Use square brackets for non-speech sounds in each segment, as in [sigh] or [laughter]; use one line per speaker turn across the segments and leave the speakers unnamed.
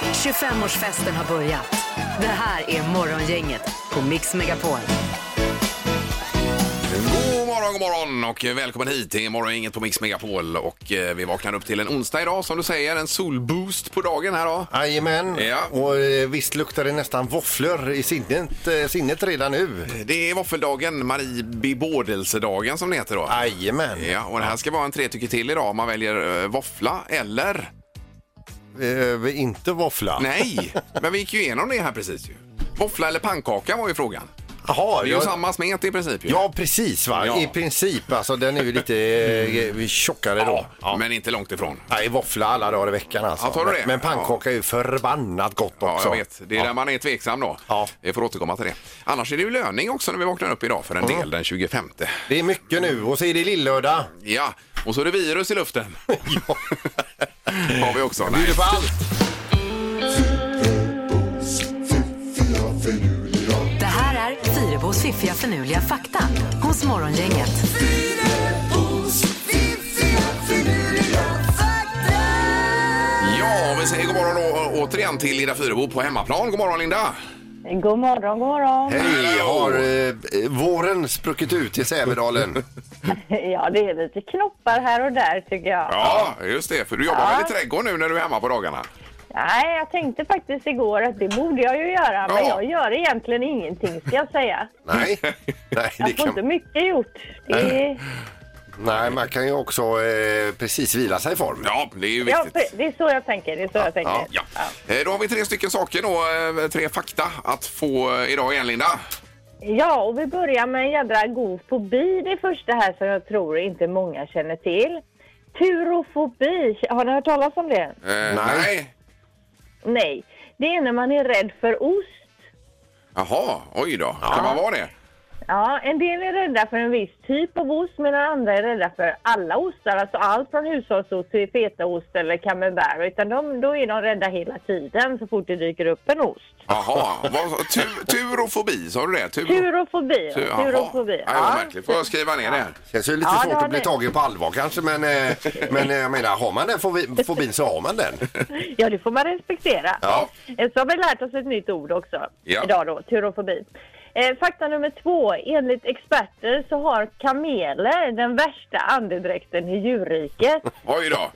25-årsfesten har börjat. Det här är Morgongänget på Mix Megapol.
God morgon, god morgon och välkommen hit till Morgongänget på Mix Megapol. Och eh, vi vaknar upp till en onsdag idag som du säger, en solboost på dagen här då.
Jajamän,
Ja.
och eh, visst luktar det nästan våfflor i sinnet, eh, sinnet redan nu.
Det är våffeldagen, Marie bebådelsedagen som det heter då.
Jajamän.
Ja, och det här ska vara en tre tycker till idag. Man väljer eh, våffla eller...
Eh, inte våffla.
Nej, men vi gick ju igenom det här precis ju. Våffla eller pannkaka var ju frågan.
Jaha,
Det är ju
jag-
samma smet i princip ju.
Ja, precis va.
Ja. Mm.
I princip. Alltså den är ju lite eh, tjockare då.
Men inte långt ifrån.
Nej, våffla alla dagar i veckan alltså.
Ja, tar du det?
Men pannkaka är ju förbannat gott
Ja,
också.
jag vet. Det är där man är tveksam då.
Ja.
Vi får återkomma till det. Annars är det ju löning också när vi vaknar upp idag för en del den 25.
Det är mycket nu och så är det lillördag.
Ja, och så är det virus i [laughs] luften. Har vi också. Nej.
Bjuder på allt.
Det här är Fyrebos fiffiga förnuliga fakta hos Morgongänget.
Ja, vi säger god morgon då, återigen till Linda Fyrebo på hemmaplan. God morgon Linda!
God morgon, god
[laughs]
morgon.
Hej,
Hallå.
har eh, våren spruckit ut
[laughs]
i Sävedalen?
Ja, det är lite knoppar här och där tycker jag.
Ja, just det. För du jobbar
Ja.
väl i trädgården nu när du är hemma på dagarna?
Nej, jag tänkte faktiskt igår att det borde jag ju göra, men
Ja.
jag gör egentligen ingenting ska jag säga.
Nej. Nej, det
Jag får inte
kan...
mycket gjort. Det är,
Nej, man kan ju också eh, precis vila sig i form.
Ja, det är ju
ja,
viktigt.
det är så jag tänker. Det är så jag
Ja,
tänker.
ja. Eh, Då har vi tre stycken saker då, eh, tre fakta att få eh, idag igen Linda.
Ja, och vi börjar med en jädra god fobi, det första här som jag tror inte många känner till. Turofobi, har ni hört talas om det?
Eh, nej.
Nej, det är när man är rädd för ost.
Jaha, oj då. Kan man vara det?
Ja, en del är rädda för en viss typ av ost medan andra är rädda för alla ostar. Alltså allt från hushållsost till fetaost eller camembert. Utan de, då är de rädda hela tiden så fort det dyker upp en ost.
Jaha, vad, tu, turofobi, sa du det? Tur,
Turofobi.
tu- jaha.
Turofobi.
Nej, vad märkligt. Får jag skriva ner det här?
Känns ju lite
Ja, det
svårt
har
att bli
ni.
tagen på allvar kanske, men, eh, men eh, jag menar, har man den fobi- fobin så har man den.
Ja, det får man respektera.
Ja.
Eh, Så har vi lärt oss ett nytt ord också
Ja.
idag då, turofobi. Eh, fakta nummer två. Enligt experter så har kameler den värsta andedräkten i
[laughs]
djurriket.
Oj då.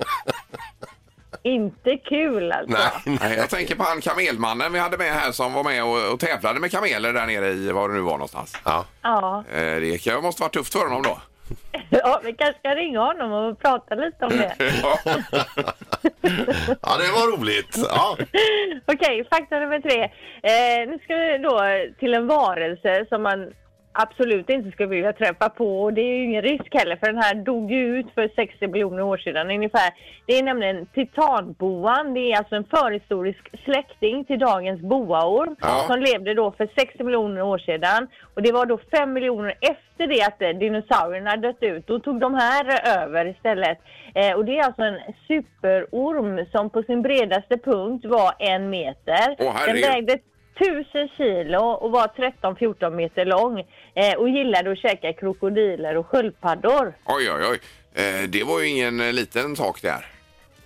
Inte kul alltså.
Nej,
Nej, Jag tänker på han kamelmannen vi hade med här som var med och, och tävlade med kameler där nere i var det nu var någonstans.
Ja.
Ja.
Eh, Det kan- måste varit tufft för honom då.
[laughs] Ja, vi kanske ska ringa honom och prata lite om det.
Ja.
ja, det var roligt. Ja.
Okej, fakta nummer tre. Eh, nu ska vi då till en varelse som man absolut inte skulle vilja träffa på. Och det är ju ingen risk heller, för den här dog ju ut för 60 miljoner år sedan ungefär. Det är nämligen titanboan. Det är alltså en förhistorisk släkting till dagens boaorm
Ja.
som levde då för 60 miljoner år sedan. Och det var då 5 miljoner efter det att eh, dinosaurierna hade dött ut. Då tog de här över istället. Eh, och det är alltså en superorm som på sin bredaste punkt var en meter. Den
Åh, herregud.
vägde 1000 kilo och var 13-14 meter lång eh, och gillade att käka krokodiler och sköldpaddor.
Oj, oj, oj. Eh, Det var ju ingen eh, liten sak där.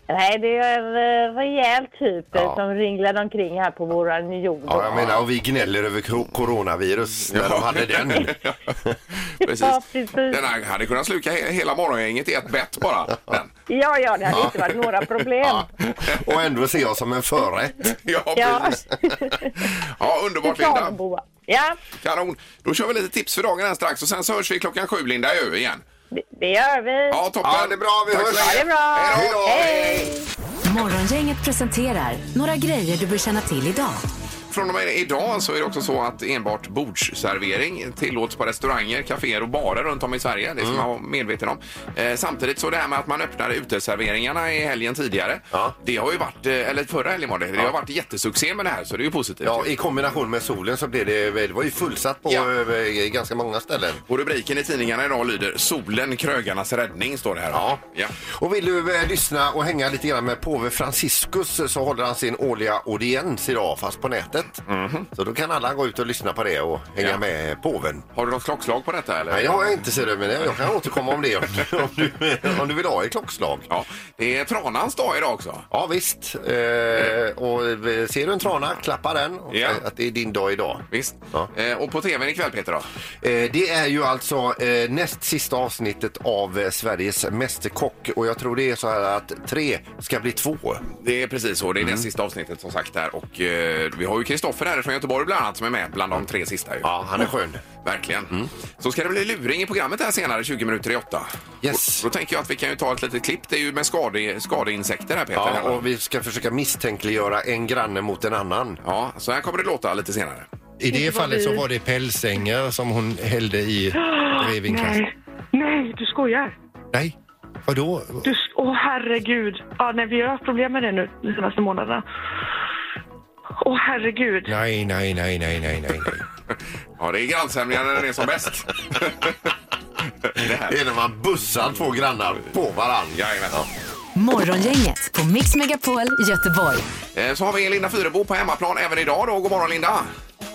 Nej, det är en eh, rejäl typ eh,
Ja.
som ringlar omkring här på våran jord.
ja, jag menar, och vi gnäller över kro- coronavirus när de hade den.
Ja,
[laughs] Precis.
precis.
Den här hade kunnat sluka he- hela morgongänget i ett bett
[laughs]
bara. Den.
Ja, ja, det hade inte varit
[laughs]
några problem.
Ja. Och ändå ser jag som en förrätt.
Ja,
Ja.
precis.
[laughs]
Ja, underbart Linda.
Titanboa. Ja,
Kanon. Då kör vi lite tips för dagen här strax och sen så hörs vi klockan sju Linda ju igen.
det, det gör vi.
Ja, toppen.
Ja, det är bra. Vi
Tack så
Ja,
länge.
hörs.
det är bra.
Hej då.
Hej.
Morgongänget presenterar några grejer du bör känna till idag.
Från och med idag så är det också så att enbart bordsservering tillåts på restauranger, kaféer och barer runt om i Sverige. Det ska
Mm.
man vara medveten om. Eh, samtidigt så det här med att man öppnade uteserveringarna i helgen tidigare.
Ja.
Det har ju varit, eh, eller förra helgen var det, det har varit jättesuccé med det här så det är ju positivt.
Ja, i kombination med solen så blev det, det var ju fullsatt på
Ja.
eh, ganska många ställen.
Och rubriken i tidningarna idag lyder Solen krögarnas räddning står det här.
Ja.
ja.
Och vill du eh, lyssna och hänga lite grann med påve Franciscus så håller han sin årliga audiens idag, fast på nätet. programmet. Så då kan alla gå ut och lyssna på det och hänga
Mhm. Ja.
med påven.
Har du något klockslag på detta eller?
Nej, det har jag inte ser du, men jag kan återkomma om [laughs] det om du, om du, om du vill ha ett klockslag.
Ja, det är tranans dag idag också.
Ja visst. Eh, och ser du en trana, klappa den och
Ja.
säg att det är din dag idag.
Visst.
Ja.
Eh, och på tvn ikväll Peter då?
Eh, Det är ju alltså eh, näst sista avsnittet av eh, Sveriges Mästerkock och jag tror det är så här att tre ska bli två.
Det är precis så. Det är
Mm.
det sista avsnittet som sagt där. Och eh, vi har ju Kristoffer här från Göteborg bland annat som är med bland de tre sista ju.
Ja, Mm. han är skön.
Verkligen. Så ska det bli luring i programmet här senare, 20 minuter i åtta.
Yes.
Och Då tänker jag att vi kan ju ta ett litet klipp. Det är ju med skade, skadeinsekter här Peter.
Ja, och vi ska försöka misstänkliggöra en granne mot en annan.
ja, så här kommer det låta lite senare.
I det fallet så var det pälsängar som hon hällde i brevinkast.
Nej, nej, du skojar.
Nej, vadå?
Du, sk- åh herregud. Ja, nej, vi har haft problem med det nu de senaste månaderna. Åh herregud.
Nej, nej, nej, nej, nej, nej. nej.
Ja, det är grannsämningar när den är som bäst. [laughs] det här.
Det är när man bussar två grannar på varandra.
Jajamän.
Morgongänget på Mix Megapol Göteborg.
Eh, Så har vi Linda Fyrebo på hemmaplan även idag då. God morgon Linda!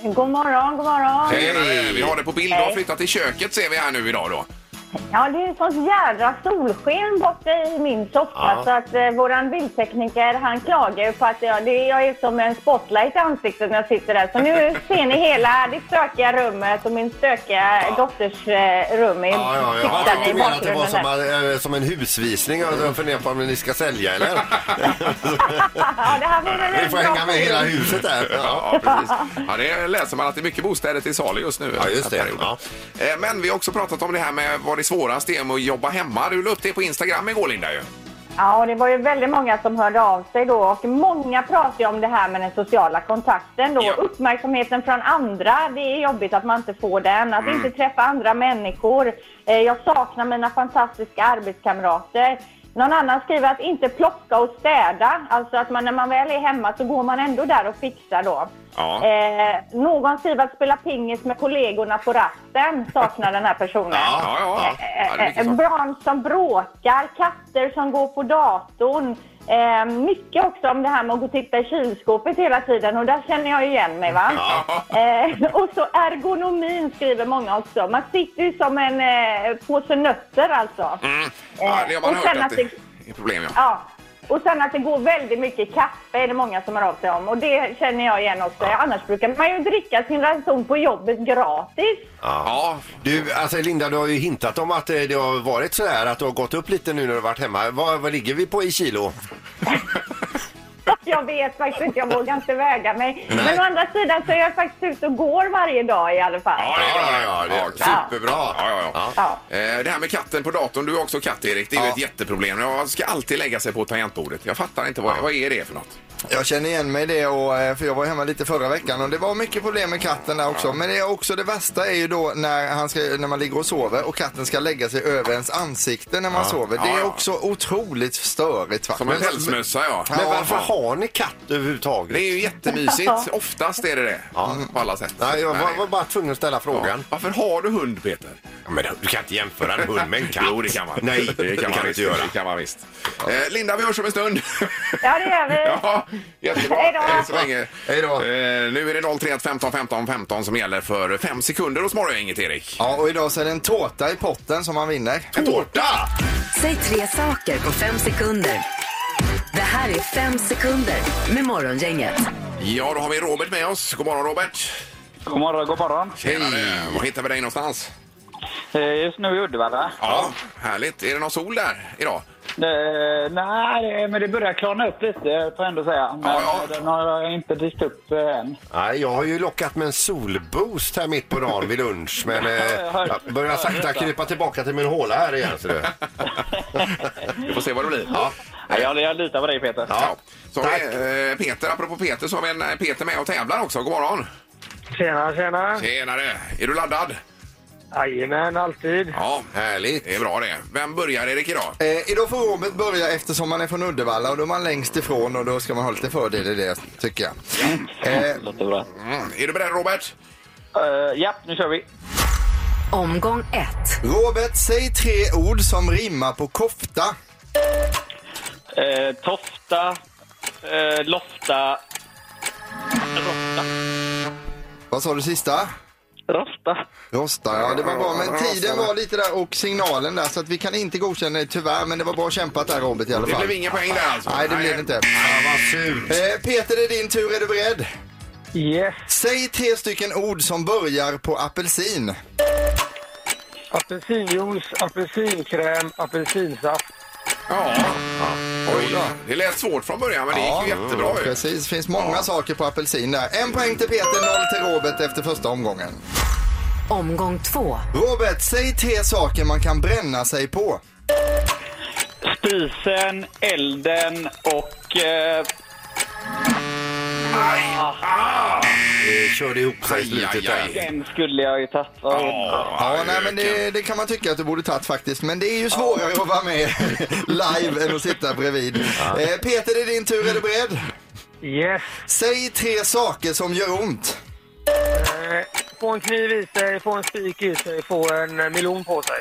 God morgon, god morgon.
Hej! Vi har det på bild. Du har
Hej.
flyttat till köket ser vi här nu idag då.
Ja, det är sånt jädra solsken borta i min soffa
Ja.
så att eh, våran bildtekniker han klagar ju på att jag, det, jag är som en spotlight i ansiktet när jag sitter där. Så nu ser ni hela det stökiga rummet och min stökiga dotters eh, rum är
Ja, ja, ja.
fixat
Jag
i
tyckte mer att det
bakgrunden.
var som,
där.
eh, som en husvisning. Jag funderar på om ni ska sälja
[laughs]
eller?
Ja, det här vore
Vi
en
får
bra
hänga med
film.
hela huset där. Ja.
Ja, precis. Ja, det läser man att det är mycket bostäder till salu just nu.
Ja, just det.
Den här perioden. Eh, Men vi har också pratat om det här med vad det svåraste är med att jobba hemma. Du la upp det på Instagram igår Linda ju.
Ja, och det var ju väldigt många som hörde av sig då och många pratade ju om det här med den sociala kontakten då.
Ja.
Uppmärksamheten från andra, det är jobbigt att man inte får den.
Mm.
Att inte träffa andra människor. Eh, jag saknar mina fantastiska arbetskamrater. Någon annan skriver att inte plocka och städa. Alltså att man, när man väl är hemma så går man ändå där och fixar då.
Ja.
Eh, någon skriver att spela pingis med kollegorna på rasten saknar den här personen.
Ja, ja. ja det är mycket
Eh,
sånt.
barn som bråkar, katter som går på datorn. Eh, mycket också om det här med att gå och titta i kylskåpet hela tiden och där känner jag ju igen mig. Va?
Ja.
Eh, och så ergonomin skriver många också. Man sitter ju som en eh, påse nötter alltså.
Mm. Ja, det har man
och sen
hört att
att
det
det-
är problem ja.
Ja. Och sen att det går väldigt mycket kaffe är det många som har av sig om och det känner jag igen också. Annars brukar man ju dricka sin ranson på jobbet gratis.
Ja,
Du, alltså Linda, du har ju hintat om att eh, det har varit så här att du har gått upp lite nu när du har varit hemma. Vad, vad ligger vi på i kilo?
[laughs] Jag vet faktiskt inte, jag vågar inte väga mig. Men å andra sidan så är jag faktiskt ute och går varje dag i alla fall.
Ja, det är bra.
Ja, ja, det är
katt.
superbra.
Ja, ja, ja.
Ja.
Eh, Det här med katten på datorn, du är också katt Erik, det är ju
Ja.
ett jätteproblem. Jag ska alltid lägga sig på tangentbordet. Jag fattar inte, vad, vad är det för något?
Jag känner igen mig i det och, eh, för jag var hemma lite förra veckan och det var mycket problem med katten där också. Men det är också det värsta är ju då när, han ska, när man ligger och sover och katten ska lägga sig över ens ansikte när man sover. Det
Ja,
är
ja.
också otroligt störigt faktiskt.
Som en pälsmössa ja.
Men
Ja,
varför
ja.
har ni katt överhuvudtaget?
Det är ju
[laughs]
jättemysigt. Oftast är det det. På alla sätt.
Mm. Nej, jag var,
Nej.
var bara tvungen att ställa
Ja.
frågan.
Varför har du hund, Peter?
Men du kan inte jämföra en hund med en [laughs] katt.
Jo, det kan man.
Nej, det kan,
man
man
visst.
inte göra.
Det kan man visst. Eh, Linda, vi hörs om en stund. [laughs]
Ja, det gör vi.
ja, jättebra.
Hej då.
Eh, Så länge.
Hej då.
Eh, nu är det 031 15 15 15 som gäller för fem sekunder hos Morgongänget, Erik.
Ja, och idag så är det en tårta i potten som man vinner.
En tårta!
Säg tre saker på fem sekunder. Det här är fem sekunder med Morgongänget.
Ja, då har vi Robert med oss. God morgon, Robert.
God morgon, god morgon.
Hej. Var hittar vi dig någonstans?
Eh, Just nu i Uddevalla.
Ja, härligt. Är det någon sol där idag?
Eh, nej, men det börjar klarna upp lite får jag ändå säga. Men eh,
Ja, ja.
den har jag inte dykt upp eh, än.
Nej, jag har ju lockat med en solboost här mitt på dagen vid lunch. Men eh,
jag hör-
jag börjar sakta krypa tillbaka till min håla här igen. Så det.
Vi får se vad det blir. Ja.
Ja, jag, jag litar på dig Peter.
Ja. Så har
Tack.
vi, eh, Peter, apropå Peter, så har vi en eh, Peter med och tävlar också. God morgon!
Tjena, tjena.
Tjenare! Är du laddad?
Jajamän, alltid.
Ja,
Härligt.
det är bra det. Vem börjar Erik idag?
[laughs] Eh, idag får Robert börja eftersom man är från Uddevalla och då är man längst ifrån och då ska man ha lite fördel i det tycker jag. Eh,
Mm. Låter bra.
Mm. Är du beredd Robert?
Eh, ja, nu kör vi.
Omgång ett.
Robert, säg tre ord som rimmar på kofta.
Eh, tofta, eh, lofta,
Rosta.
Vad sa du sista?
Rosta.
Rosta, ja det var bra. Men tiden var lite där och signalen där så att vi kan inte godkänna det tyvärr. Men det var bra kämpat där Robert i alla
Det
fall.
blev inga poäng där alltså.
Nej, det blev det inte.
vad surt.
Eh, Peter, det är din tur. Är du beredd?
Yes.
Säg tre stycken ord som börjar på apelsin.
Apelsinjuice, apelsinkräm, apelsinsaft.
Ja. Oj, det lät svårt från början men det gick ju jättebra ju.
Precis, finns många saker på apelsin där. En poäng till Peter, noll till Robert efter första omgången.
Omgång två.
Robert, säg tre saker man kan bränna sig på.
Spisen, elden och... Eh,
Eh, Körde ihop sig i slutet
Aj, aj,
där.
aj.
den skulle jag ju tagit. va?
Ja,
Ja,
nej, men det, det kan man tycka att du borde tagit faktiskt. Men det är ju svårare att vara med [laughs] live än att sitta bredvid. Eh, Peter, det är din tur. Är du beredd?
Yes.
Säg tre saker som gör ont.
Eh, Få en kniv i sig, få en spik i sig, få en eh, melon på sig.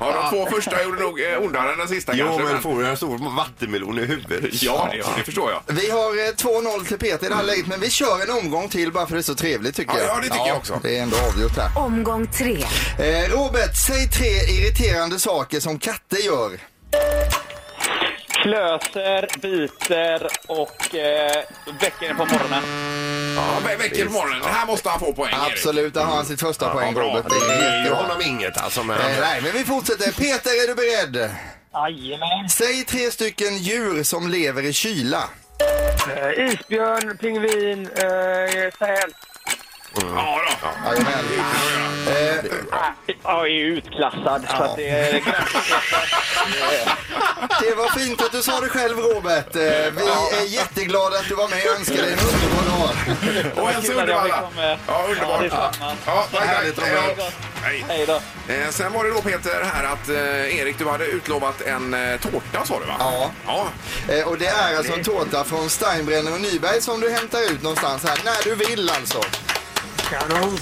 Ja, de två första gjorde nog eh, ondare än den sista
Jo,
kanske.
men får du en stor vattenmelon i huvudet?
Ja, det, det förstår jag.
Vi har eh, 2-0 till Peter i det här läget, men vi kör en omgång till bara för det är så trevligt tycker
Mm. Ja,
jag.
ja, det tycker jag också.
Det är ändå avgjort här.
Omgång tre.
Eh, Robert, säg tre irriterande saker som katter gör.
Klöser, biter och eh, väcker den på morgonen.
Ja, vä- väcker på morgonen. Här måste han få poäng, Erik.
Absolut, där har han sitt första poäng
bra.
Robert. Det är
Jag
jättebra.
honom inget alltså, men
Eh, nej, men vi fortsätter. Peter, är du beredd?
Jajamän.
Säg tre stycken djur som lever i kyla.
Eh, Isbjörn, pingvin, eh, säl.
Ja, då.
Jajamän. Eh,
Jag är ju utklassad. Så att det är
det var fint att du sa det själv Robert. Eh, vi är jätteglada att du var med och önskar dig en underbar dag.
Och en till
kul att jag fick eh,
Uddevalla.
vara med.
Ja,
Ja,
underbart.
detsamma.
Ja, tack,
Härligt
tack.
att vara med.
Ja, hej.
Hej då.
Eh, Sen var det då Peter här att eh, Erik, du hade utlovat en eh, tårta sa du va?
Ja.
ja.
Eh, och det är alltså en tårta från Steinbrenner och Nyberg som du hämtar ut någonstans här när du vill alltså.
Kanon.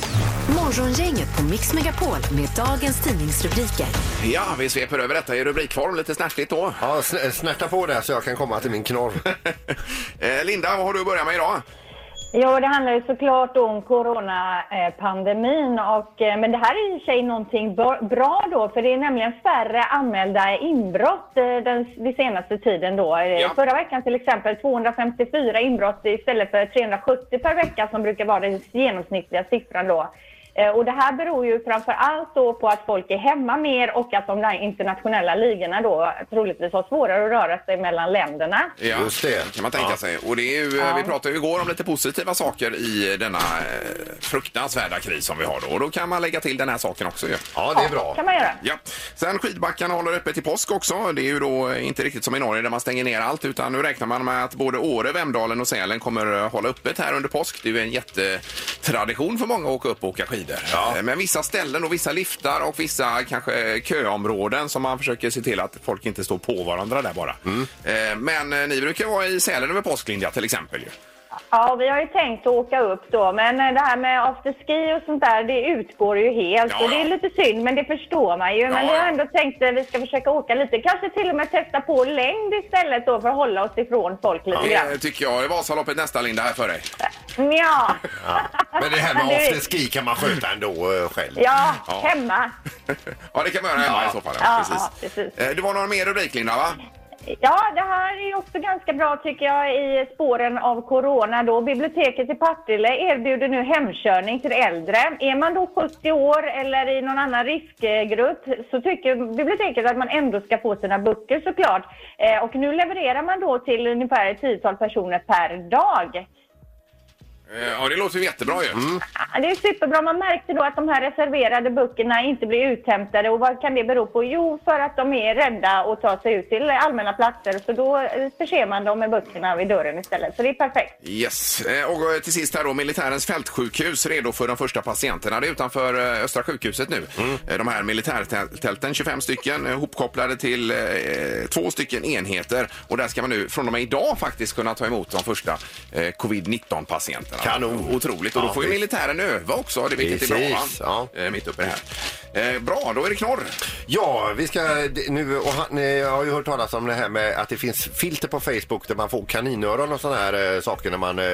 Morgongänget på Mix Megapol med dagens tidningsrubriker.
Ja, vi sveper över detta i rubrikform lite snärtigt då. [laughs]
ja, sn- eh, snärta på där så jag kan komma till min knorr.
Eh, Linda, vad har du att börja med idag?
Ja, det handlar ju såklart om coronapandemin. Och, eh, men det här är i och för sig någonting bra- bra då, för det är nämligen färre anmälda inbrott eh, den, den senaste tiden. Då. Eh,
Ja.
Förra veckan till exempel 254 inbrott istället för 370 per vecka som brukar vara den genomsnittliga siffran. Då. Eh, Och det här beror ju framför allt då på att folk är hemma mer och att de där internationella ligorna då troligtvis har svårare att röra sig mellan länderna.
Ja,
Just det.
kan man tänka sig. Och det är ju, eh, Vi pratade ju igår om lite positiva saker i denna eh, fruktansvärda kris som vi har då. Och då kan man lägga till den här saken också ju.
Ja, det är bra.
kan man göra.
Ja. Sen skidbackarna håller öppet till påsk också. Det är ju då inte riktigt som i Norge där man stänger ner allt utan nu räknar man med att både Åre, Vemdalen och Sälen kommer eh, hålla öppet här under påsk. Det är ju en jättetradition för många att åka upp och åka skidor. Eh, Men vissa ställen och vissa liftar och vissa kanske köområden som man försöker se till att folk inte står på varandra där bara. Eh, Men eh, ni brukar vara i Sälen över påsklinja till exempel ju.
Ja, vi har ju tänkt att åka upp då, men eh, det här med afterski och sånt där, det utgår ju helt.
Ja,
och det är
ja.
lite synd, men det förstår man ju. Men
Ja,
vi har
ja.
ändå tänkt att vi ska försöka åka lite, kanske till och med testa på längd istället då för att hålla oss ifrån folk lite
Det
grann.
tycker jag. Det är Vasaloppet nästa Linda här för dig.
Nja.
Men det här med
Du-
afterski kan man sköta ändå eh, själv.
Ja,
Ja.
hemma.
ja, det kan man göra hemma i så fall.
Ja, ja, precis.
Eh, Det var någon mer rubrik Linda va?
Ja, det här är ju också ganska bra tycker jag i spåren av corona då. Biblioteket i Partille erbjuder nu hemkörning till äldre. Är man då 70 år eller i någon annan riskgrupp så tycker biblioteket att man ändå ska få sina böcker såklart. Eh, och nu levererar man då till ungefär ett tiotal personer per dag.
Eh, Ja, det låter ju jättebra ju.
Ja, Det är superbra. Man märkte då att de här reserverade böckerna inte blir uthämtade. Och vad kan det bero på? Jo, för att de är rädda att ta sig ut till allmänna platser. Så då eh, förser man dem med böckerna vid dörren istället. Så det är perfekt.
Yes. Eh, Och eh, till sist här då, militärens fältsjukhus redo för de första patienterna. Det är utanför eh, Östra sjukhuset nu. Eh, De här militärtälten, 25 stycken, eh, hopkopplade till eh, två stycken enheter. Och där ska man nu från och med idag faktiskt kunna ta emot de första eh, covid-19 patienterna.
Kanon.
Otroligt. Och då
Ja,
får ju
visst.
militären öva också, det vilket är bra.
Precis,
va? Eh, Mitt uppe i det här. Eh, Bra, då är det knorr.
Ja, vi ska d- nu, och han, ni har ju hört talas om det här med att det finns filter på Facebook där man får kaninöron och såna här eh, saker när man, eh,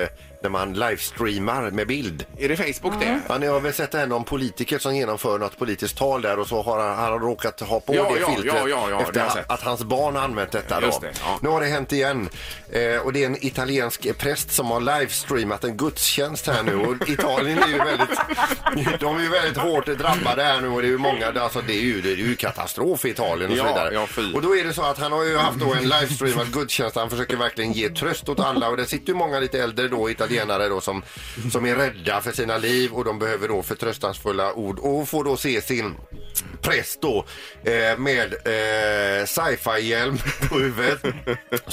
när man livestreamar med bild.
Är det Facebook det?
Ja, ni har väl sett det här någon politiker som genomför något politiskt tal där och så har han, han har råkat ha på
Ja,
det
ja,
filtret
ja, ja, ja, det
efter
har jag
ha-
sett.
att hans barn har använt detta. Då.
Just det, ja.
Nu har det hänt igen eh, och det är en italiensk präst som har livestreamat en gudstjänst här nu och Italien är ju väldigt, [laughs] de är ju väldigt hårt drabbade här nu och det är ju många, alltså det är ju, det är ju katastrof i Italien och
Ja,
så vidare.
ja, fy.
och då är det så att han har ju haft då en livestreamad gudstjänst. Han försöker verkligen ge tröst åt alla och det sitter ju många lite äldre då italienare då som, som är rädda för sina liv och de behöver då förtröstansfulla ord och får då se sin präst då eh, med eh, sci-fi-hjälm på huvudet,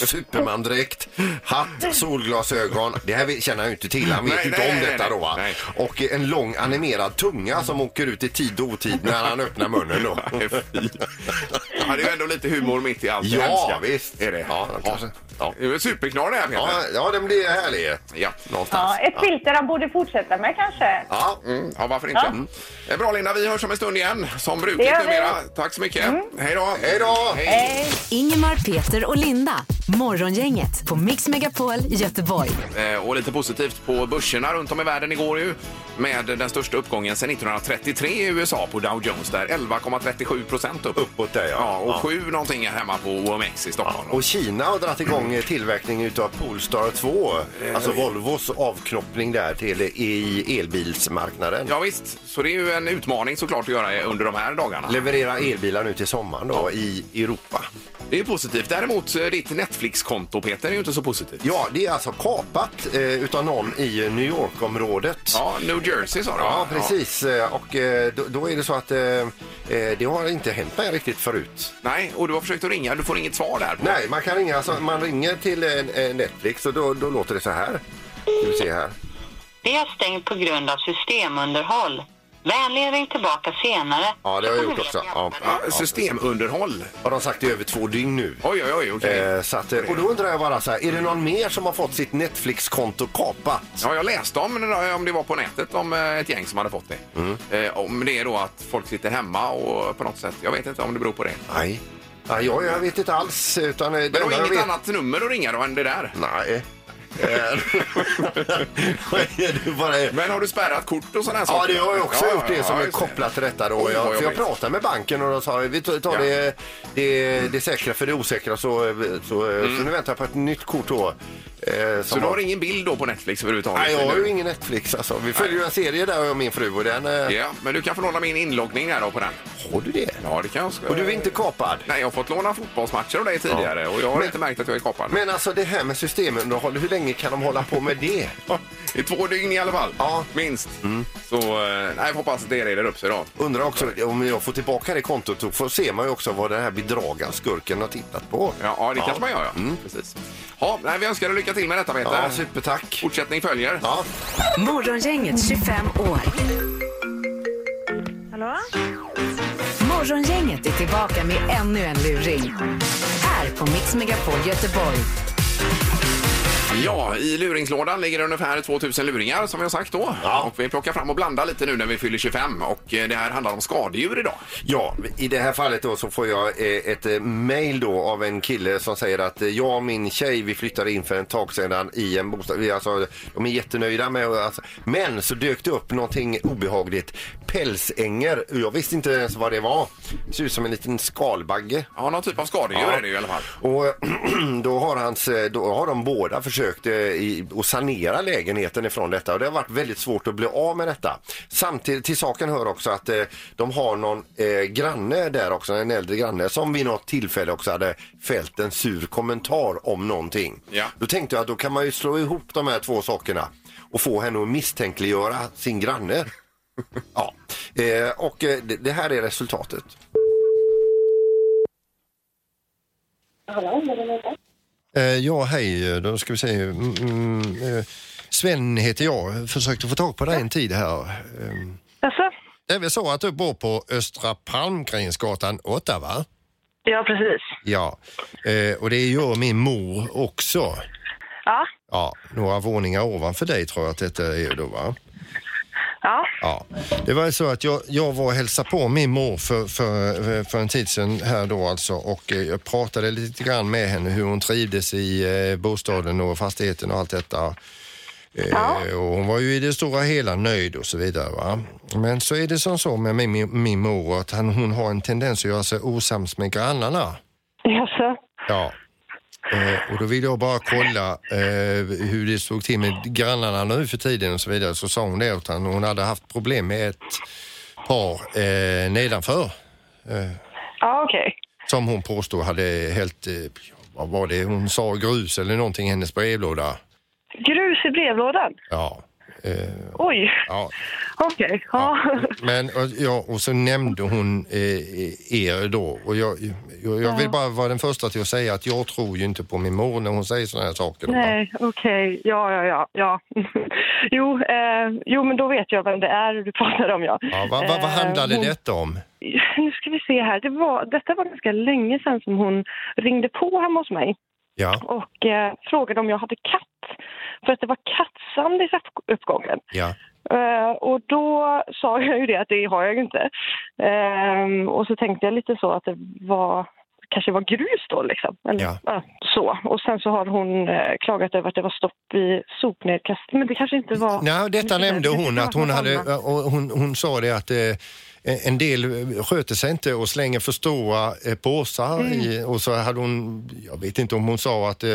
supermandräkt, hatt, solglasögon. Det här vet- känner han ju inte till, han vet
Nej,
ju inte
nej,
om
nej,
detta
nej,
då va?
nej.
Och eh, en lång animerad tunga som åker ut i tid och otid när han öppnar
[laughs]
munnen då.
Nej, fy. Ja, det är ju ändå lite humor mitt i allt det
Ja,
hemska.
visst.
Är det?
Ja, kanske.
Ja.
Ja.
Det är väl Superknorr det här Peter.
Ja, ja den blir härlig.
Ja.
Ja, ett filter han borde fortsätta med kanske.
Ja, mm, ja varför inte? Mm. Eh, Bra Linda, vi hörs om en stund igen som brukligt
Det gör vi. Mm.
numera. Tack så mycket. Hej då!
Hej då!
Hej.
Ingemar, Peter och Linda. Morgongänget på Mix Megapol Göteborg.
Eh, Och lite positivt på börserna runt om i världen igår ju med den största uppgången sedan 1933 i USA på Dow Jones där 11,37 procent upp.
Uppåt där, ja.
Ja, och
Ja.
7 någonting här hemma på OMX i Stockholm.
Och Kina har dragit igång eh, tillverkning utav Polestar 2, alltså Volvos avknoppning där till eh, i elbilsmarknaden.
Ja, visst, så det är ju en utmaning såklart att göra eh, under de här dagarna.
Leverera elbilar nu till sommaren då i Europa.
Det är ju positivt. Däremot eh, ditt Netflix-konto Peter är ju inte så positivt.
Ja, det är alltså kapat eh, utav någon i eh, New York-området.
Ja, New Jersey sa du
Ja,
va?
precis. Eh, Och eh, då, då är det så att eh, eh, det har inte hänt mig riktigt förut.
Ja. Nej, och du har försökt att ringa. Du får inget svar där. På.
Nej, man kan ringa, alltså, man ringer till eh, eh, Netflix och då, då låter det så här. Ska vi se här.
Vi är stängt på grund av systemunderhåll. Vänligen ring tillbaka senare.
Ja, det har jag gjort också. Ja.
Ja, systemunderhåll.
Har de sagt i över två dygn nu?
Oj, oj, oj, okej.
Eh, så att, eh, och då undrar jag bara så här, är det någon mer som har fått sitt Netflix-konto kapat?
Ja, jag läste om, det- om det var på nätet om eh, ett gäng som hade fått det.
Mm.
Eh, om det är då att folk sitter hemma och på något sätt. Jag vet inte om det beror på det.
Nej. Nej, jag, jag vet inte alls. Utan, eh, det
Men det var
enda jag
inget
vet-
annat nummer att ringa då än det där.
Nej. Eh, [laughs] vad är det bara...
Men har du spärrat kort och sådana här
Ja,
saker?
det har jag också
Ja,
gjort det
ja,
som är
just
kopplat till detta då.
Oj, vad
Jag, för jag
jobbigt.
pratade med banken och de sa vi tar tar
Ja.
det, det, det säkra för det osäkra så, eh, så, eh, så nu väntar jag på ett nytt kort då. eh, som
Mm. Så du
har-
har ingen bild då på Netflix överhuvudtaget?
Nej, jag har
eller?
ju ingen Netflix alltså. Vi följer ju en serie där jag och min fru och den... eh,
Ja, men du kan få låna min inloggning där då på den.
Har du det?
Ja, det kan jag. ska-
Och du är inte kapad?
Nej, jag har fått låna fotbollsmatcher av dig tidigare och jag har inte märkt att jag är kapad.
Men alltså det här med systemunderhåll, hur länge kan de hålla på med det?
I två dygn i alla fall.
Ja.
Minst. Så eh, nej, jag hoppas att det reder upp sig då.
Undrar också om jag får tillbaka det kontot så får- ser man ju också vad den här bedragaren, skurken, har tittat på.
Ja, ja det kanske man gör. Ja. Precis. Ja, nej, vi önskar dig lycka till med detta, Peter.
Ja, supertack.
Fortsättning följer.
Ja.
Morgongänget 25 år.
Hallå?
Morgongänget är tillbaka med ännu en luring. Här på Mix Megapol Göteborg.
Ja, i luringslådan ligger det ungefär 2000 luringar som vi har sagt då.
Ja.
Och vi plockar fram och blandar lite nu när vi fyller 25 och eh, det här handlar om skadedjur idag.
ja, i det här fallet då så får jag eh, ett eh, mail då av en kille som säger att eh, jag och min tjej vi flyttade in för en tag sedan i en bostad. Vi, alltså, de är jättenöjda med alltså, Men så dök det upp någonting obehagligt. Pälsänger. Jag visste inte ens vad det var. Det ser ut som en liten skalbagge.
Ja, någon typ av skadedjur
Ja.
är det ju i alla fall.
Och [clears throat] då har, hans, eh, då har de båda försökt eh, i- att sanera lägenheten ifrån detta och det har varit väldigt svårt att bli av med detta. Samtidigt till saken hör också att eh, de har någon eh, granne där också, en äldre granne som vid något tillfälle också hade fällt en sur kommentar om någonting.
Ja.
Då tänkte jag att då kan man ju slå ihop de här två sakerna och få henne att misstänkliggöra sin granne. [laughs] ja. eh, och eh, det, det här är resultatet.
Eh, ja, hej. Då ska vi se. Mm, mm, eh, Sven heter jag. Försökte få tag på dig en tid här. Eh,
Jaså?
Det är väl så att du bor på Östra Palmgrensgatan 8, va?
Ja, precis.
Ja. Eh, och det gör min mor också.
Ja,
Ja, några våningar ovanför dig tror jag att detta är då va?
Ja.
Ja, det var ju så att jag, jag var och hälsade på min mor för, för, för en tid sedan här då alltså och eh, jag pratade lite grann med henne hur hon trivdes i eh, bostaden och fastigheten och allt detta. Eh, Och hon var ju i det stora hela nöjd och så vidare. Va? Men så är det som så med min, min, min mor att han, hon har en tendens att göra sig osams med grannarna.
Jaså?
Ja. Eh, och då ville jag bara kolla eh, hur det stod till med grannarna nu för tiden och så vidare. Så sa hon det att han, hon hade haft problem med ett par eh, nedanför. Eh,
Ja, okej.
som hon påstod hade helt, eh, vad var det hon sa, grus eller någonting i hennes brevlåda.
Grus i brevlådan?
Ja. Eh,
Oj.
ja.
Okej. Ja.
Men och, ja, och så nämnde hon eh, er då och jag, jag, jag vill bara vara den första till att säga att jag tror ju inte på min mor när hon säger sådana här saker. då, va?
Nej, okej. Ja, ja, ja. ja. [laughs] jo, eh, jo, men då vet jag vem det är du pratar om, ja.
Ja, vad, vad, vad
Eh,
handlade
hon-
detta om?
[laughs] Nu ska vi se här. Det var, detta var ganska länge sedan som hon ringde på hemma hos mig
Ja,
och eh, frågade om jag hade katt. För att det var kattsand i upp- uppgången.
ja.
Eh, och då sa jag ju det att det har jag ju inte. Ehm, och så tänkte jag lite så att det var kanske var grus då liksom. Eller,
Ja.
ja, så. Och sen så har hon eh, klagat över att det var stopp i sopnedkast. Men det kanske inte var...
Nej, detta
eh,
nämnde hon att hon hade, och hon, hon sa det att eh, en del eh, sköter sig inte och slänger för stora eh, påsar
Mm.
i, och så hade hon, jag vet inte om hon sa att, eh,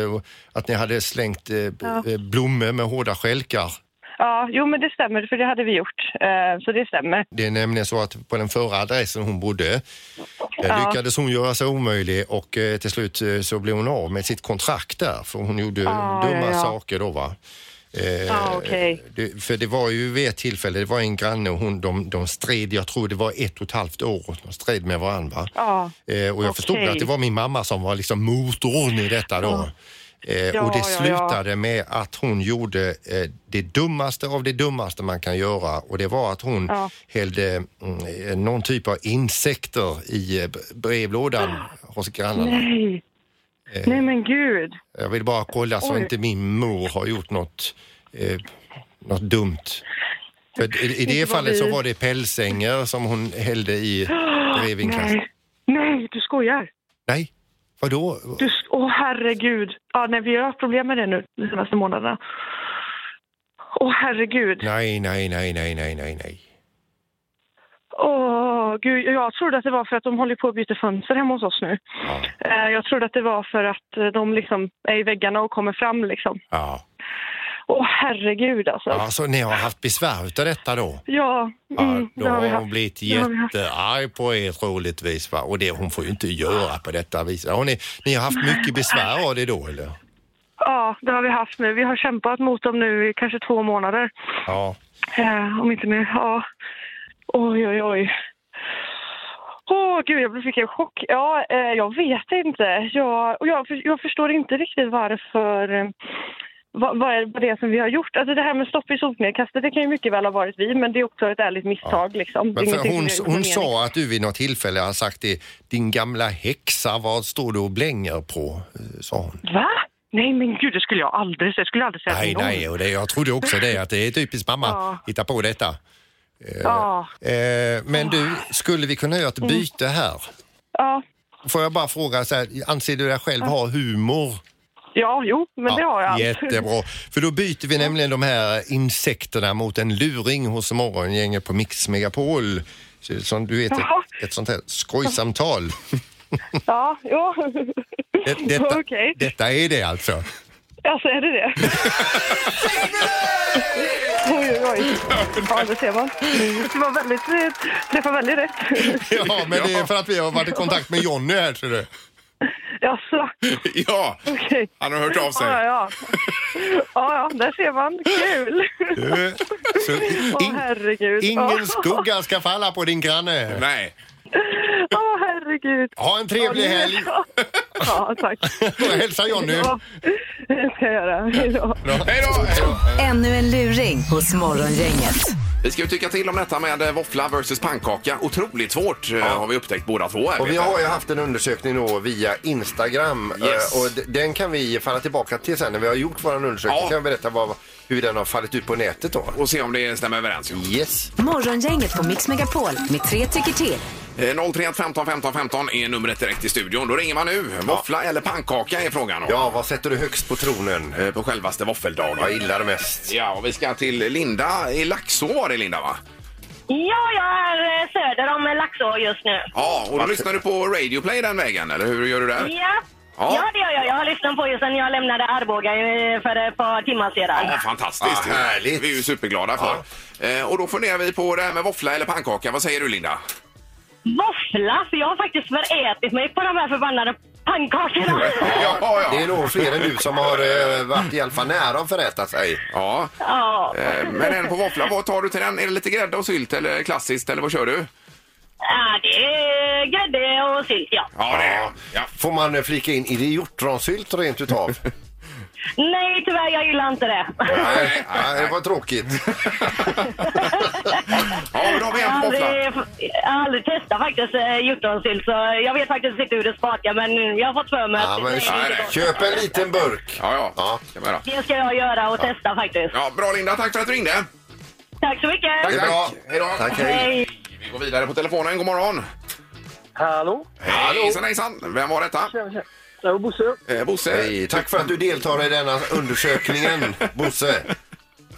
att ni hade slängt eh,
Ja.
eh, blommor med hårda stjälkar.
Ja, jo men det stämmer för det hade vi gjort. Eh, så det stämmer.
Det är nämligen så att på den förra adressen hon bodde eh,
Ja.
lyckades hon göra sig omöjlig och eh, till slut eh, så blev hon av med sitt kontrakt där för hon gjorde
Ah,
dumma
ja, ja.
saker då va. Eh,
Ah, okej.
det, för det var ju vid ett tillfälle, det var en granne och hon, de, de stred, jag tror det var ett och ett halvt år, de stred med varandra. Va?
Ja.
Eh, och jag förstod
Okej.
att det var min mamma som var liksom motorn i detta då. Eh,
Ja,
och
ja,
det
ja.
slutade med att hon gjorde eh, det dummaste av det dummaste man kan göra och det var att hon
Ja.
hällde mm, eh, någon typ av insekter i eh, b-
[gasps]
brevlådan hos grannarna.
Nej.
Eh.
Nej men gud.
Jag vill bara kolla så
Oj.
inte min mor har gjort något, eh, något dumt. För i, I det
Inte vad
fallet så
vi-
var det pälsänger som hon hällde i brevinkast.
[gasps]
Nej.
Nej. Nej, du skojar.
Nej, vadå?
Du, s- åh herregud. Ja, nej, vi har haft problem med det nu de senaste månaderna. Åh herregud.
Nej, nej, nej, nej, nej, nej, nej.
Åh gud, jag trodde att det var för att de håller på att byta fönster hemma hos oss nu.
Ja.
Eh, Jag trodde att det var för att eh, de liksom är i väggarna och kommer fram liksom.
Ja.
Åh herregud alltså.
ja, så ni har haft besvär utav detta då?
Ja,
Ja,
mm,
då
det har vi
har
haft.
hon blivit
Det har vi haft.
jättearg på er troligtvis va? Och det, hon får ju inte göra på detta viset. Har ni, ni har haft mycket besvär av det då eller?
Ja, det har vi haft nu. Vi har kämpat mot dem nu i kanske två månader.
Ja.
Eh, om inte mer. Ja. Oj, oj, oj. Åh, gud, jag fick en chock. Ja, eh, jag vet inte. Jag, och jag, för- jag förstår inte riktigt varför... Eh, vad, vad är vad det är som vi har gjort? Alltså det här med stopp i sopnedkastet, det kan ju mycket väl ha varit vi, men det är också ett ärligt misstag liksom. Det är
Men för
ingenting
hon,
som vi har gjort
hon
med mening.
sa att du vid något tillfälle har sagt det, din gamla häxa, vad står du och blänger på? Eh, Sa hon.
Va? Nej men gud, det skulle jag aldrig säga. Det skulle jag aldrig säga
Nej,
till någon.
nej, och det, jag trodde också det, att det är typiskt mamma,
Ja.
hitta på detta.
Ja,
Eh, men du, skulle vi kunna
Mm.
göra ett byte här?
ja,
Får jag bara fråga, så här, anser du dig själv ha humor?
ja, jo, men det har jag.
Jättebra, för då byter vi nämligen de här insekterna mot en luring hos morgongänget på Mix Megapol. Så- Som du vet, ett,
Jaha.
ett sånt här skojsamtal.
Ja, ja.
Det,
[laughs]
detta,
Okej.
detta är det alltså.
Alltså, är det
[laughs]
det? oj, oj, oj. Ja, det ser man. Det var väldigt... eh, träffade väldigt rätt.
[laughs] Ja, men det är för att vi har varit i kontakt med Jonny här tror du.
Jaså,
Ja,
okej.
han har hört av sig.
Ja, ja. Ja, ja, där ser man. Kul!
Eh, Så,
Åh,
in,
herregud.
ingen skugga ska falla på din granne.
Nej.
Åh, herregud.
Ha en trevlig
Ja, nu-
helg
Ja, tack.
och hälsa Jonny.
Ja, det ska jag göra. Hej då.
Hej då! Hej då.
Ännu en luring hos Morgongänget.
Vi ska ju tycka till om detta med eh, våffla versus pannkaka. Otroligt svårt eh, har vi upptäckt båda två. här,
Och vi
Peter.
har ju haft en undersökning då via Instagram
Yes.
eh, och d- den kan vi falla tillbaka till sen när vi har gjort vår undersökning.
Ja.
kan vi berätta vad, hur den har fallit ut på nätet då.
Och se om det stämmer överens. ju.
Yes.
Morgongänget på Mix Megapol med tre tycker till.
Eh, 031 15 15 15 är numret direkt i studion. Då ringer man nu. Våffla eller pannkaka är frågan. då.
Ja, vad sätter du högst på tronen?
Eh, På självaste våffeldagen.
Vad gillar du mest?
Ja, och vi ska till Linda i Laxå var det Linda va?
Ja, jag är eh, söder om Laxå just nu.
Ja, och då lyssnar du på Radio Play den vägen eller hur gör du där?
Ja.
Ja.
Ja. det gör jag. Jag har lyssnat på er sedan jag lämnade Arboga eh, för ett par timmar sedan.
Ja, fantastiskt.
Ja, härligt.
Vi är ju superglada för. Eh, Och då funderar vi på det här med våffla eller pannkaka. Vad säger du Linda?
Våffla, för jag har faktiskt förätit mig på de här förbannade
[laughs]
pannkakorna.
ja.
Det är nog fler än du som har eh, varit i alla fall nära att föräta sig.
Ja,
ja.
eh, men en på våffla. Vad tar du till den? Är det lite grädde och sylt eller klassiskt eller vad kör du?
ja, Äh, det är grädde och sylt, ja.
Ja, det är ja.
Får man eh, flika in, är det hjortronsylt rent utav?
Nej, tyvärr, jag gillar inte det.
nej, nej, det var tråkigt.
ja, men då har vi
Jag
en
har
på våffla.
aldrig, jag har aldrig testat faktiskt eh, hjortronsylt, så jag vet faktiskt inte hur det smakar, men jag har fått för mig
Ja,
att
men,
det är inte gott.
köp en liten burk.
Ja, ja.
Ja.
Kan man göra.
Det ska jag göra och testa faktiskt.
Ja, bra Linda, tack för att du ringde.
Tack så mycket!
Det är bra.
Hej då.
Tack, hej.
Hej!
Vi går vidare på telefonen. God morgon.
Hallå?
Hej. Hejsan, hejsan. Vem var detta?
Tjena, tjena. Det var Bosse.
Eh, Bosse.
Hej, tack för att du deltar i denna undersökningen, Bosse.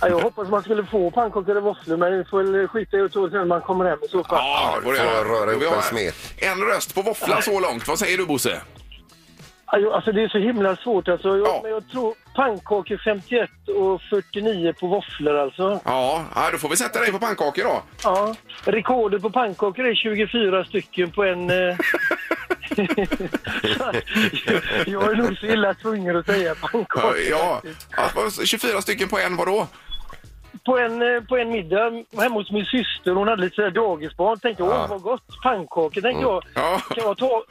Ja, jag hoppas man skulle få pannkakor och våfflor, men vi får väl skita i och ta det sen när man kommer hem i så fall.
Ja, det får
du
jag
får
göra.
röra
Då
upp
vill jag
en
ha
smet.
En röst på våffla så långt. Vad säger du Bosse?
Ja, jag- Alltså det är så himla svårt alltså. Jag,
Ja.
men jag tror pannkakor 51 och 49 på våfflor alltså.
Ja, ja, då får vi sätta dig på pannkakor då.
Ja. Rekordet på pannkakor är 24 stycken på en...
[laughs]
Eh... [laughs] jag är nog så illa tvungen att säga pannkakor.
Ja, ja, 24 stycken på en, vadå?
På, en, eh, på en middag hemma hos min syster, hon hade lite så här dagisbarn, tänkte jag, åh vad gott, pannkakor, tänkte jag.
Ja.
Kan jag ta,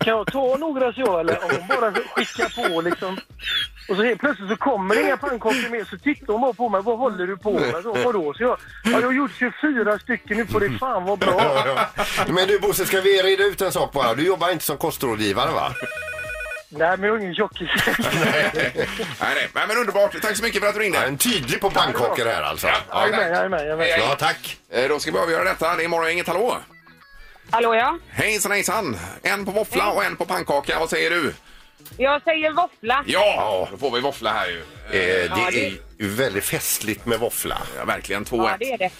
kan jag ta några så jag, eller om hon bara skickar på liksom. Och så helt plötsligt så kommer det inga pannkakor mer, så tittar hon bara på mig, vad håller du på med? Så, vadå? Så jag, ja, jag har gjort 24 stycken, nu får det fan vara bra.
Men du Bosse, ska vi reda ut en sak bara? Du jobbar inte som kostrådgivare va?
Nej, men jag är ingen tjockis. [laughs]
Nej, nej. nej, men underbart. Tack så mycket för att du ringde.
Ja, en tydlig på pannkakor här alltså.
Ja,
Jajamän, jajamän, jajamän.
Hej,
Ja, tack.
Eh, Då ska vi avgöra detta. Det är morgon, inget hallå.
Hallå ja,
Hejsan, hejsan. En på våffla och en på pannkaka. Vad säger du?
jag säger våffla.
Ja, då får vi våffla här ju.
Eh, det är ju väldigt festligt med våffla.
Ja, verkligen. 2-1.
Ja, det är det.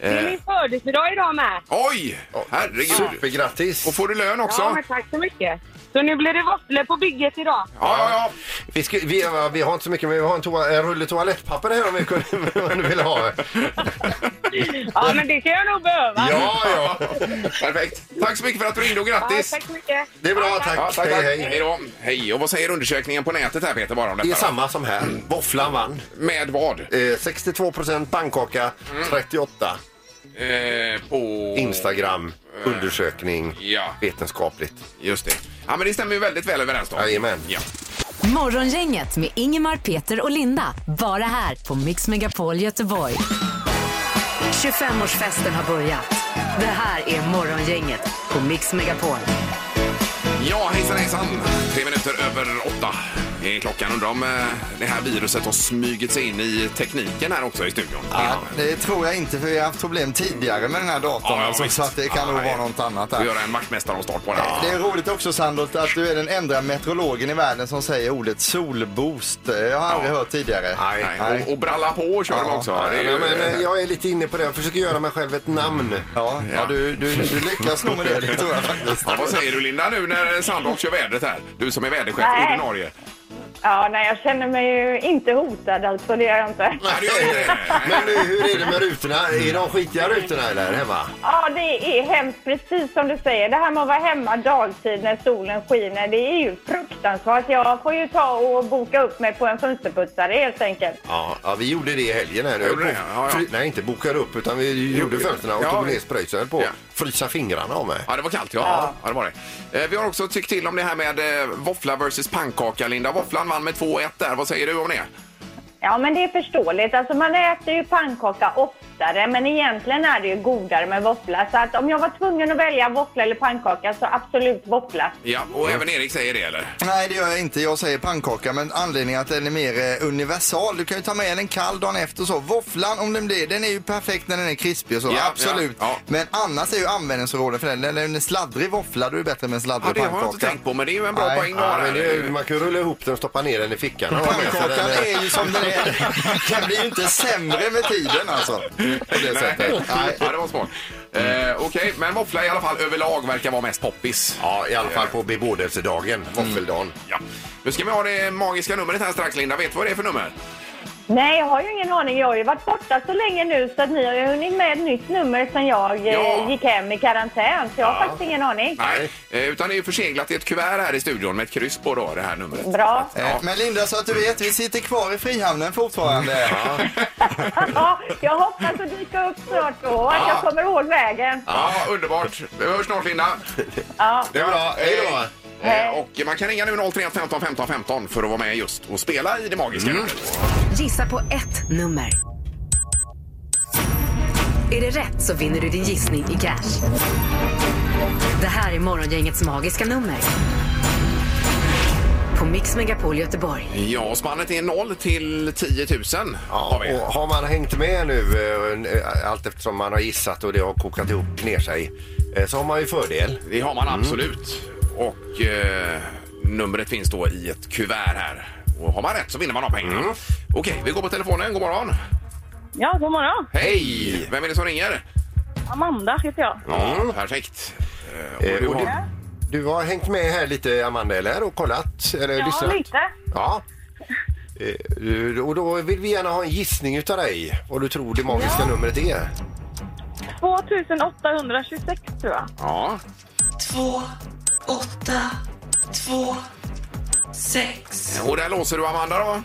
Det är min födelsedag idag med.
Oj, herregud. Och
Supergrattis!
får du lön också?
Ja, men tack så mycket. Så nu blir det våfflor på bygget idag.
Ja, ja, ja.
Vi, ska, vi, har- vi har inte så mycket, men vi har en, toa, en rulle toalettpapper här om vi kunde, [laughs] om du vill ha.
Ja, men det kan jag nog behöva.
Ja, ja.
[laughs] Perfekt. Tack så mycket för att du ringde och grattis.
tack så mycket.
Det är bra,
Ja,
tack.
Ja, tack, tack.
Hej,
Hej,
hej.
då. Hej. Och vad säger undersökningen på nätet här Peter bara om
Det
detta?
är samma som här. Våfflan vann.
då? Med vad?
Eh, 62 procent pannkaka, 38
Eh, på...
Instagram, undersökning,
Ja.
vetenskapligt.
Just det. Ja, men det stämmer ju väldigt väl överens då.
Jajamän.
Ja.
Morgongänget med Ingemar, Peter och Linda. Bara här på Mix Megapol Göteborg. 25-årsfesten har börjat. Det här är Morgongänget på Mix Megapol.
Ja, hejsan hejsan! Tre minuter över åtta är klockan. Undrar om eh, det här viruset har smugit sig in i tekniken här också i studion.
Ja, det tror jag inte för vi har haft problem tidigare med den här datorn
Ja, ja,
alltså,
visst.
så att det kan
Ja,
nog
ja.
vara något annat
Vi
här.
gör en vaktmästaromstart på det. här.
Det är roligt också Sandholt att du är den enda meteorologen i världen som säger ordet solboost. Jag har aldrig hört tidigare.
Nej. Och, och bralla på kör de också. Det är ju-
Ja, men, eh, jag är lite inne på det. Jag försöker göra mig själv ett namn.
Ja, ja du, du, du lyckas nog med det, det tror jag faktiskt.
Ja, vad säger du Linda nu när Sandholt kör vädret här? Du som är väderchef
Nej.
ordinarie.
Ja, nej, jag känner mig ju inte hotad alltså, det gör jag inte.
Nej, det gör inte det.
Men du, hur är det med rutorna? Är de skitiga rutorna eller hemma?
Ja, det är hemskt, precis som du säger. Det här med att vara hemma dagtid när solen skiner, det är ju fruktansvärt. Jag får ju ta och boka upp mig på en fönsterputsare helt enkelt.
Ja, ja, vi gjorde det i helgen här nu.
Gjorde det? Ja, ja.
Fry- Nej, inte bokade upp utan vi gjorde fönstren och
Ja,
tog
vi-
ner spröjsen på
Ja.
frysa fingrarna av mig.
Ja, det var kallt ja. ja. det var det. Eh, Vi har också tyckt till om det här med eh, våffla versus pannkaka, Linda. Våfflan vann med 2-1 där. Vad säger du om det?
Ja, men det är förståeligt. Alltså, man äter ju pannkaka ofta sötare, men egentligen är det ju godare med våffla. Så att om jag var tvungen att välja våffla eller pannkaka så absolut våffla.
Ja, och även Erik säger det eller?
Nej, det gör jag inte. Jag säger pannkaka, men anledningen att den är mer eh, universal. Du kan ju ta med den kall dagen efter och så. Våfflan, om den blir, den är ju perfekt när den är krispig och så.
Ja,
Absolut.
ja, ja.
Men annars är ju användningsområdet för den. När den är sladdrig våffla, då är det bättre med
Ja,
en sladdrig
det har jag inte
pannkaka.
tänkt på, men det är ju en bra
Nej,
poäng då.
Ja,
där.
men det är, ju- man kan ju rulla ihop den och stoppa ner den i fickan. och ha med sig
Pannkakan
den.
är ju som den är.
[laughs]
Den blir ju inte sämre med tiden alltså. På
[laughs]
det sättet.
Nej,
Nej.
ja, det var smart. Eh, Okej, men våffla i alla fall överlag verkar vara mest poppis.
Ja, i alla fall på bebådelsedagen, våffeldagen.
Ja. Nu ska vi ha det magiska numret här strax, Linda. Vet du vad det är för nummer?
Nej, jag har ju ingen aning. Jag har ju varit borta så länge nu så att ni har ju hunnit med ett nytt nummer sen jag eh,
Ja.
gick hem i karantän. Så jag har faktiskt ingen aning.
Nej. Eh, utan det är ju förseglat i ett kuvert här i studion med ett kryss på då, det här numret.
Bra.
Eh, Men Linda, så att du vet, vi sitter kvar i Frihamnen fortfarande.
[laughs] ja, jag hoppas att dyka upp snart då och att jag kommer ihåg vägen.
Ja, underbart. Vi hörs snart, Linda.
Ja.
Det är bra. Hej då!
Eh, och man kan ringa nu 031 15 15 15 för att vara med just och spela i det magiska numret.
Gissa på ett nummer. Är det rätt så vinner du din gissning i cash. Det här är Morgongängets magiska nummer. På Mix Megapol Göteborg.
Ja, spannet är 0 till 10 000.
Ja,
har vi.
och har man hängt med nu eh, eh, allt eftersom man har gissat och det har kokat ihop ner sig eh, så har man ju fördel.
Det har man absolut. Och eh, numret finns då i ett kuvert här. Och har man rätt så vinner man de pengarna. Okej, vi går på telefonen. God morgon.
Ja, god morgon.
Hej! Vem är det som ringer?
Amanda heter jag.
Ja, perfekt. Eh, och
Eh,
du
och
har-
du, du har hängt med här lite, Amanda, eller? Och kollat? Eller ja, lyssnat? Ja. Eh, Och då vill vi gärna ha en gissning utav dig, vad du tror det magiska numret är.
2826 tror jag.
Ja. Två, åtta, två, sex. Och där låser du Amanda då?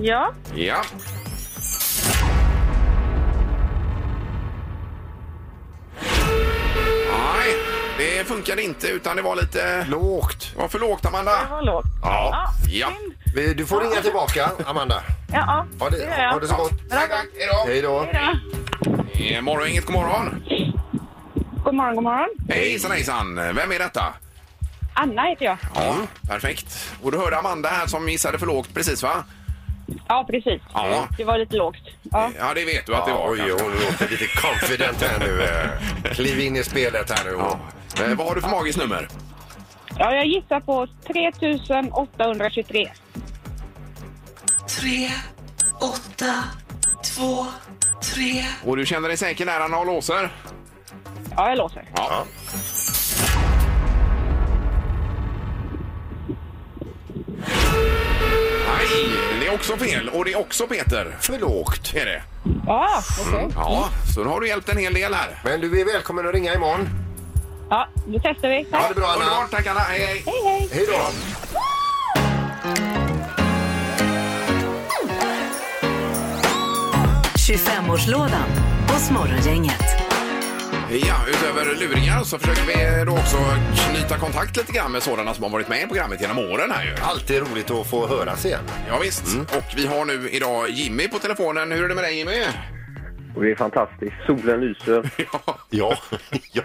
Ja.
Ja. Nej, det funkade inte utan det var lite...
Lågt.
Det var för lågt Amanda.
Det var lågt.
Ja. Ja.
synd.
Vi- Du får ringa tillbaka, Amanda.
Ja,
Ha
ja,
det,
det gör jag.
ha det så gott.
Tack, tack. Hej
Hej då.
Hej då.
då. Eh, Morgon, inget god morgon.
God morgon, god morgon.
Hej, Hejsan, hejsan. Vem är detta?
Anna heter jag.
Ja, perfekt. Och du hörde Amanda här som gissade för lågt precis va?
Ja, precis.
Ja.
Det var lite lågt. Ja.
Ja, det vet du att det
Ja,
var.
oj,
kanske.
hon låter lite confident här nu. eh. Kliv in i spelet här nu.
Ja. Eh, Vad har du för magiskt nummer?
ja, jag gissar på 3823.
Och du känner dig säker när han har låser?
Ja, jag låser.
Ja. Nej, det är också fel. Och det är också Peter.
För lågt.
Är det?
Ja, okej.
Ja, så nu har du hjälpt en hel del här.
Men du är välkommen att ringa imorgon.
Ja, då testar vi.
Ha
Tack.
det bra, Anna.
Underbart, tack Anna. Hej, hej.
Hej, hej.
Hej då.
Ja. 25-årslådan hos Morgongänget.
Ja, utöver luringar så försöker vi då också knyta kontakt lite grann med sådana som har varit med i programmet genom åren här ju.
Alltid roligt att få höras igen.
Ja, visst. Och vi har nu idag Jimmy på telefonen. Hur är det med dig Jimmy?
Det är fantastiskt. Solen lyser.
[laughs] Ja,
Ja. [laughs] ja.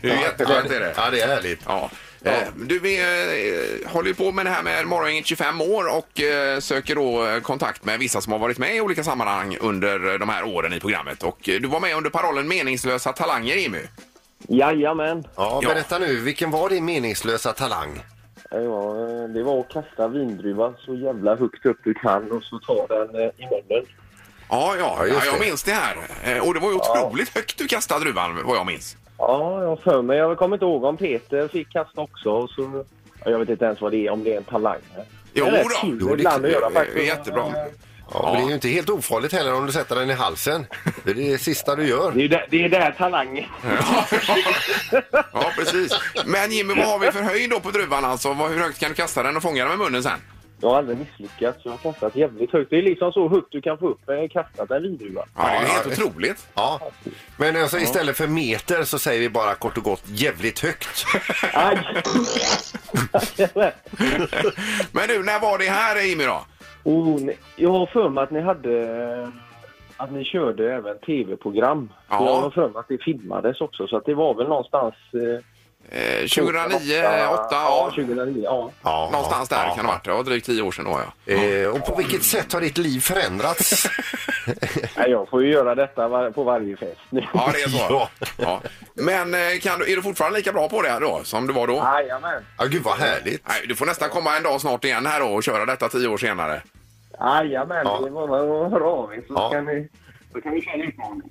det är jätteskönt är det.
Ja, det är härligt.
Ja. Eh, Du, vi eh, håller ju på med det här med Morgongänget 25 år och eh, söker då eh, kontakt med vissa som har varit med i olika sammanhang under eh, de här åren i programmet. Och eh, du var med under parollen Meningslösa talanger, Jimmy.
Jajamän.
Ja,
Ja.
berätta nu, vilken var din meningslösa talang?
Det var, det var att kasta vindruvan så jävla högt upp du kan och så ta den eh, i munnen.
Ja, ja, ja
just
jag
det.
minns det här. Eh, Och det var ju otroligt högt du kastade druvan, vad jag minns.
Ja, jag har för mig. Jag kommer inte ihåg om Peter fick kasta också. Och så, ja, jag vet inte ens vad det är, om det är en talang.
Jo
det är
då.
rätt kul
Jo, det-
ibland att göra
det är
faktiskt.
jättebra.
Ja, men Det är ju inte helt ofarligt heller om du sätter den i halsen. Det är det sista du
Det
gör.
är ju det, det, är det här talangen.
Ja, precis. Men Jimmy, vad har vi för höjd då på druvan alltså? Vad- Hur högt kan du kasta den och fånga den med munnen sen?
Jag har aldrig misslyckats. Jag har kastat jävligt högt. Det är liksom så högt du kan få upp eh, kastat en vindruva.
Ja, det är ju
Ja,
helt
ja.
otroligt.
Ja. Men alltså, istället för meter så säger vi bara kort och gott jävligt högt.
Aj!
Men du, när var det här Jimmy då?
oh, ni- jag har för mig att ni hade... eh,
att ni körde även tv-program.
Ja.
Jag har för mig att det filmades också, så att det var väl någonstans... Eh,
Eh, 2009, 8,
ja.
ja,
2009, ja.
Ja,
någonstans där kan det ha varit. Det var drygt tio år sedan då, ja.
Eh, och på vilket sätt har ditt liv förändrats? [laughs]
Nej, jag får ju göra detta var, på varje fest nu.
Ja, det är så.
[laughs] Ja.
Ja. Men eh, kan du, är du fortfarande lika bra på det här då, som du var då?
Jajamän.
Ja, gud vad härligt.
Nej, du får nästan komma en dag snart igen här då och köra detta tio år senare.
Jajamän,
Ja.
det är bara att höra av er så
Ja.
kan ni... Så kan vi köra en utmaning.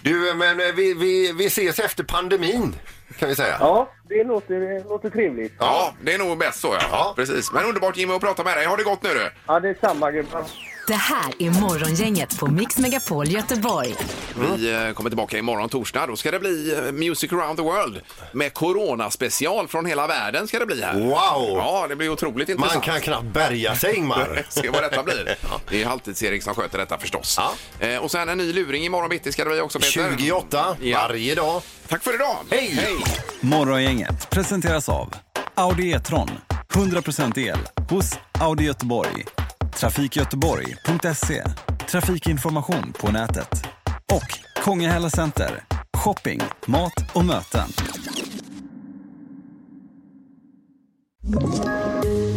Du, eh, men eh, vi, vi, vi ses efter pandemin kan vi säga.
Ja, det låter, det låter trevligt.
Ja, det är nog bäst så ja.
Ja.
Precis. Men underbart Jimmy att prata med dig. Har det gott nu du.
Ja, det är samma gubbar.
Det här är Morgongänget på Mix Megapol Göteborg.
Vi eh, kommer tillbaka imorgon torsdag. Då ska det bli eh, Music around the world med coronaspecial från hela världen ska det bli här.
Wow!
Ja, det blir otroligt intressant.
Man kan knappt bärga sig Ingmar.
[laughs] Se vad detta
[laughs]
blir. Det är Halvtids-Erik som sköter detta förstås.
Ja.
Eh, och sen en ny luring imorgon bitti ska det bli också Peter.
28
Ja.
varje dag.
Tack för idag!
Hej!
Morgongänget presenteras av Audi E-tron. 100% el hos Audi Göteborg. Trafikgöteborg.se. Trafikinformation på nätet. Och Kongahälla Center. Shopping, mat och möten.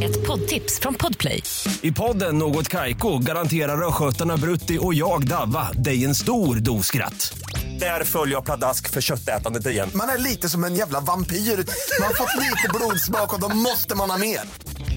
Ett poddtips från Podplay.
I podden Något Kaiko garanterar östgötarna Brutti och jag, Davva, dig en stor dos skratt. Där följer jag pladask för köttätandet igen.
Man är lite som en jävla vampyr. Man har fått lite blodsmak och då måste man ha mer.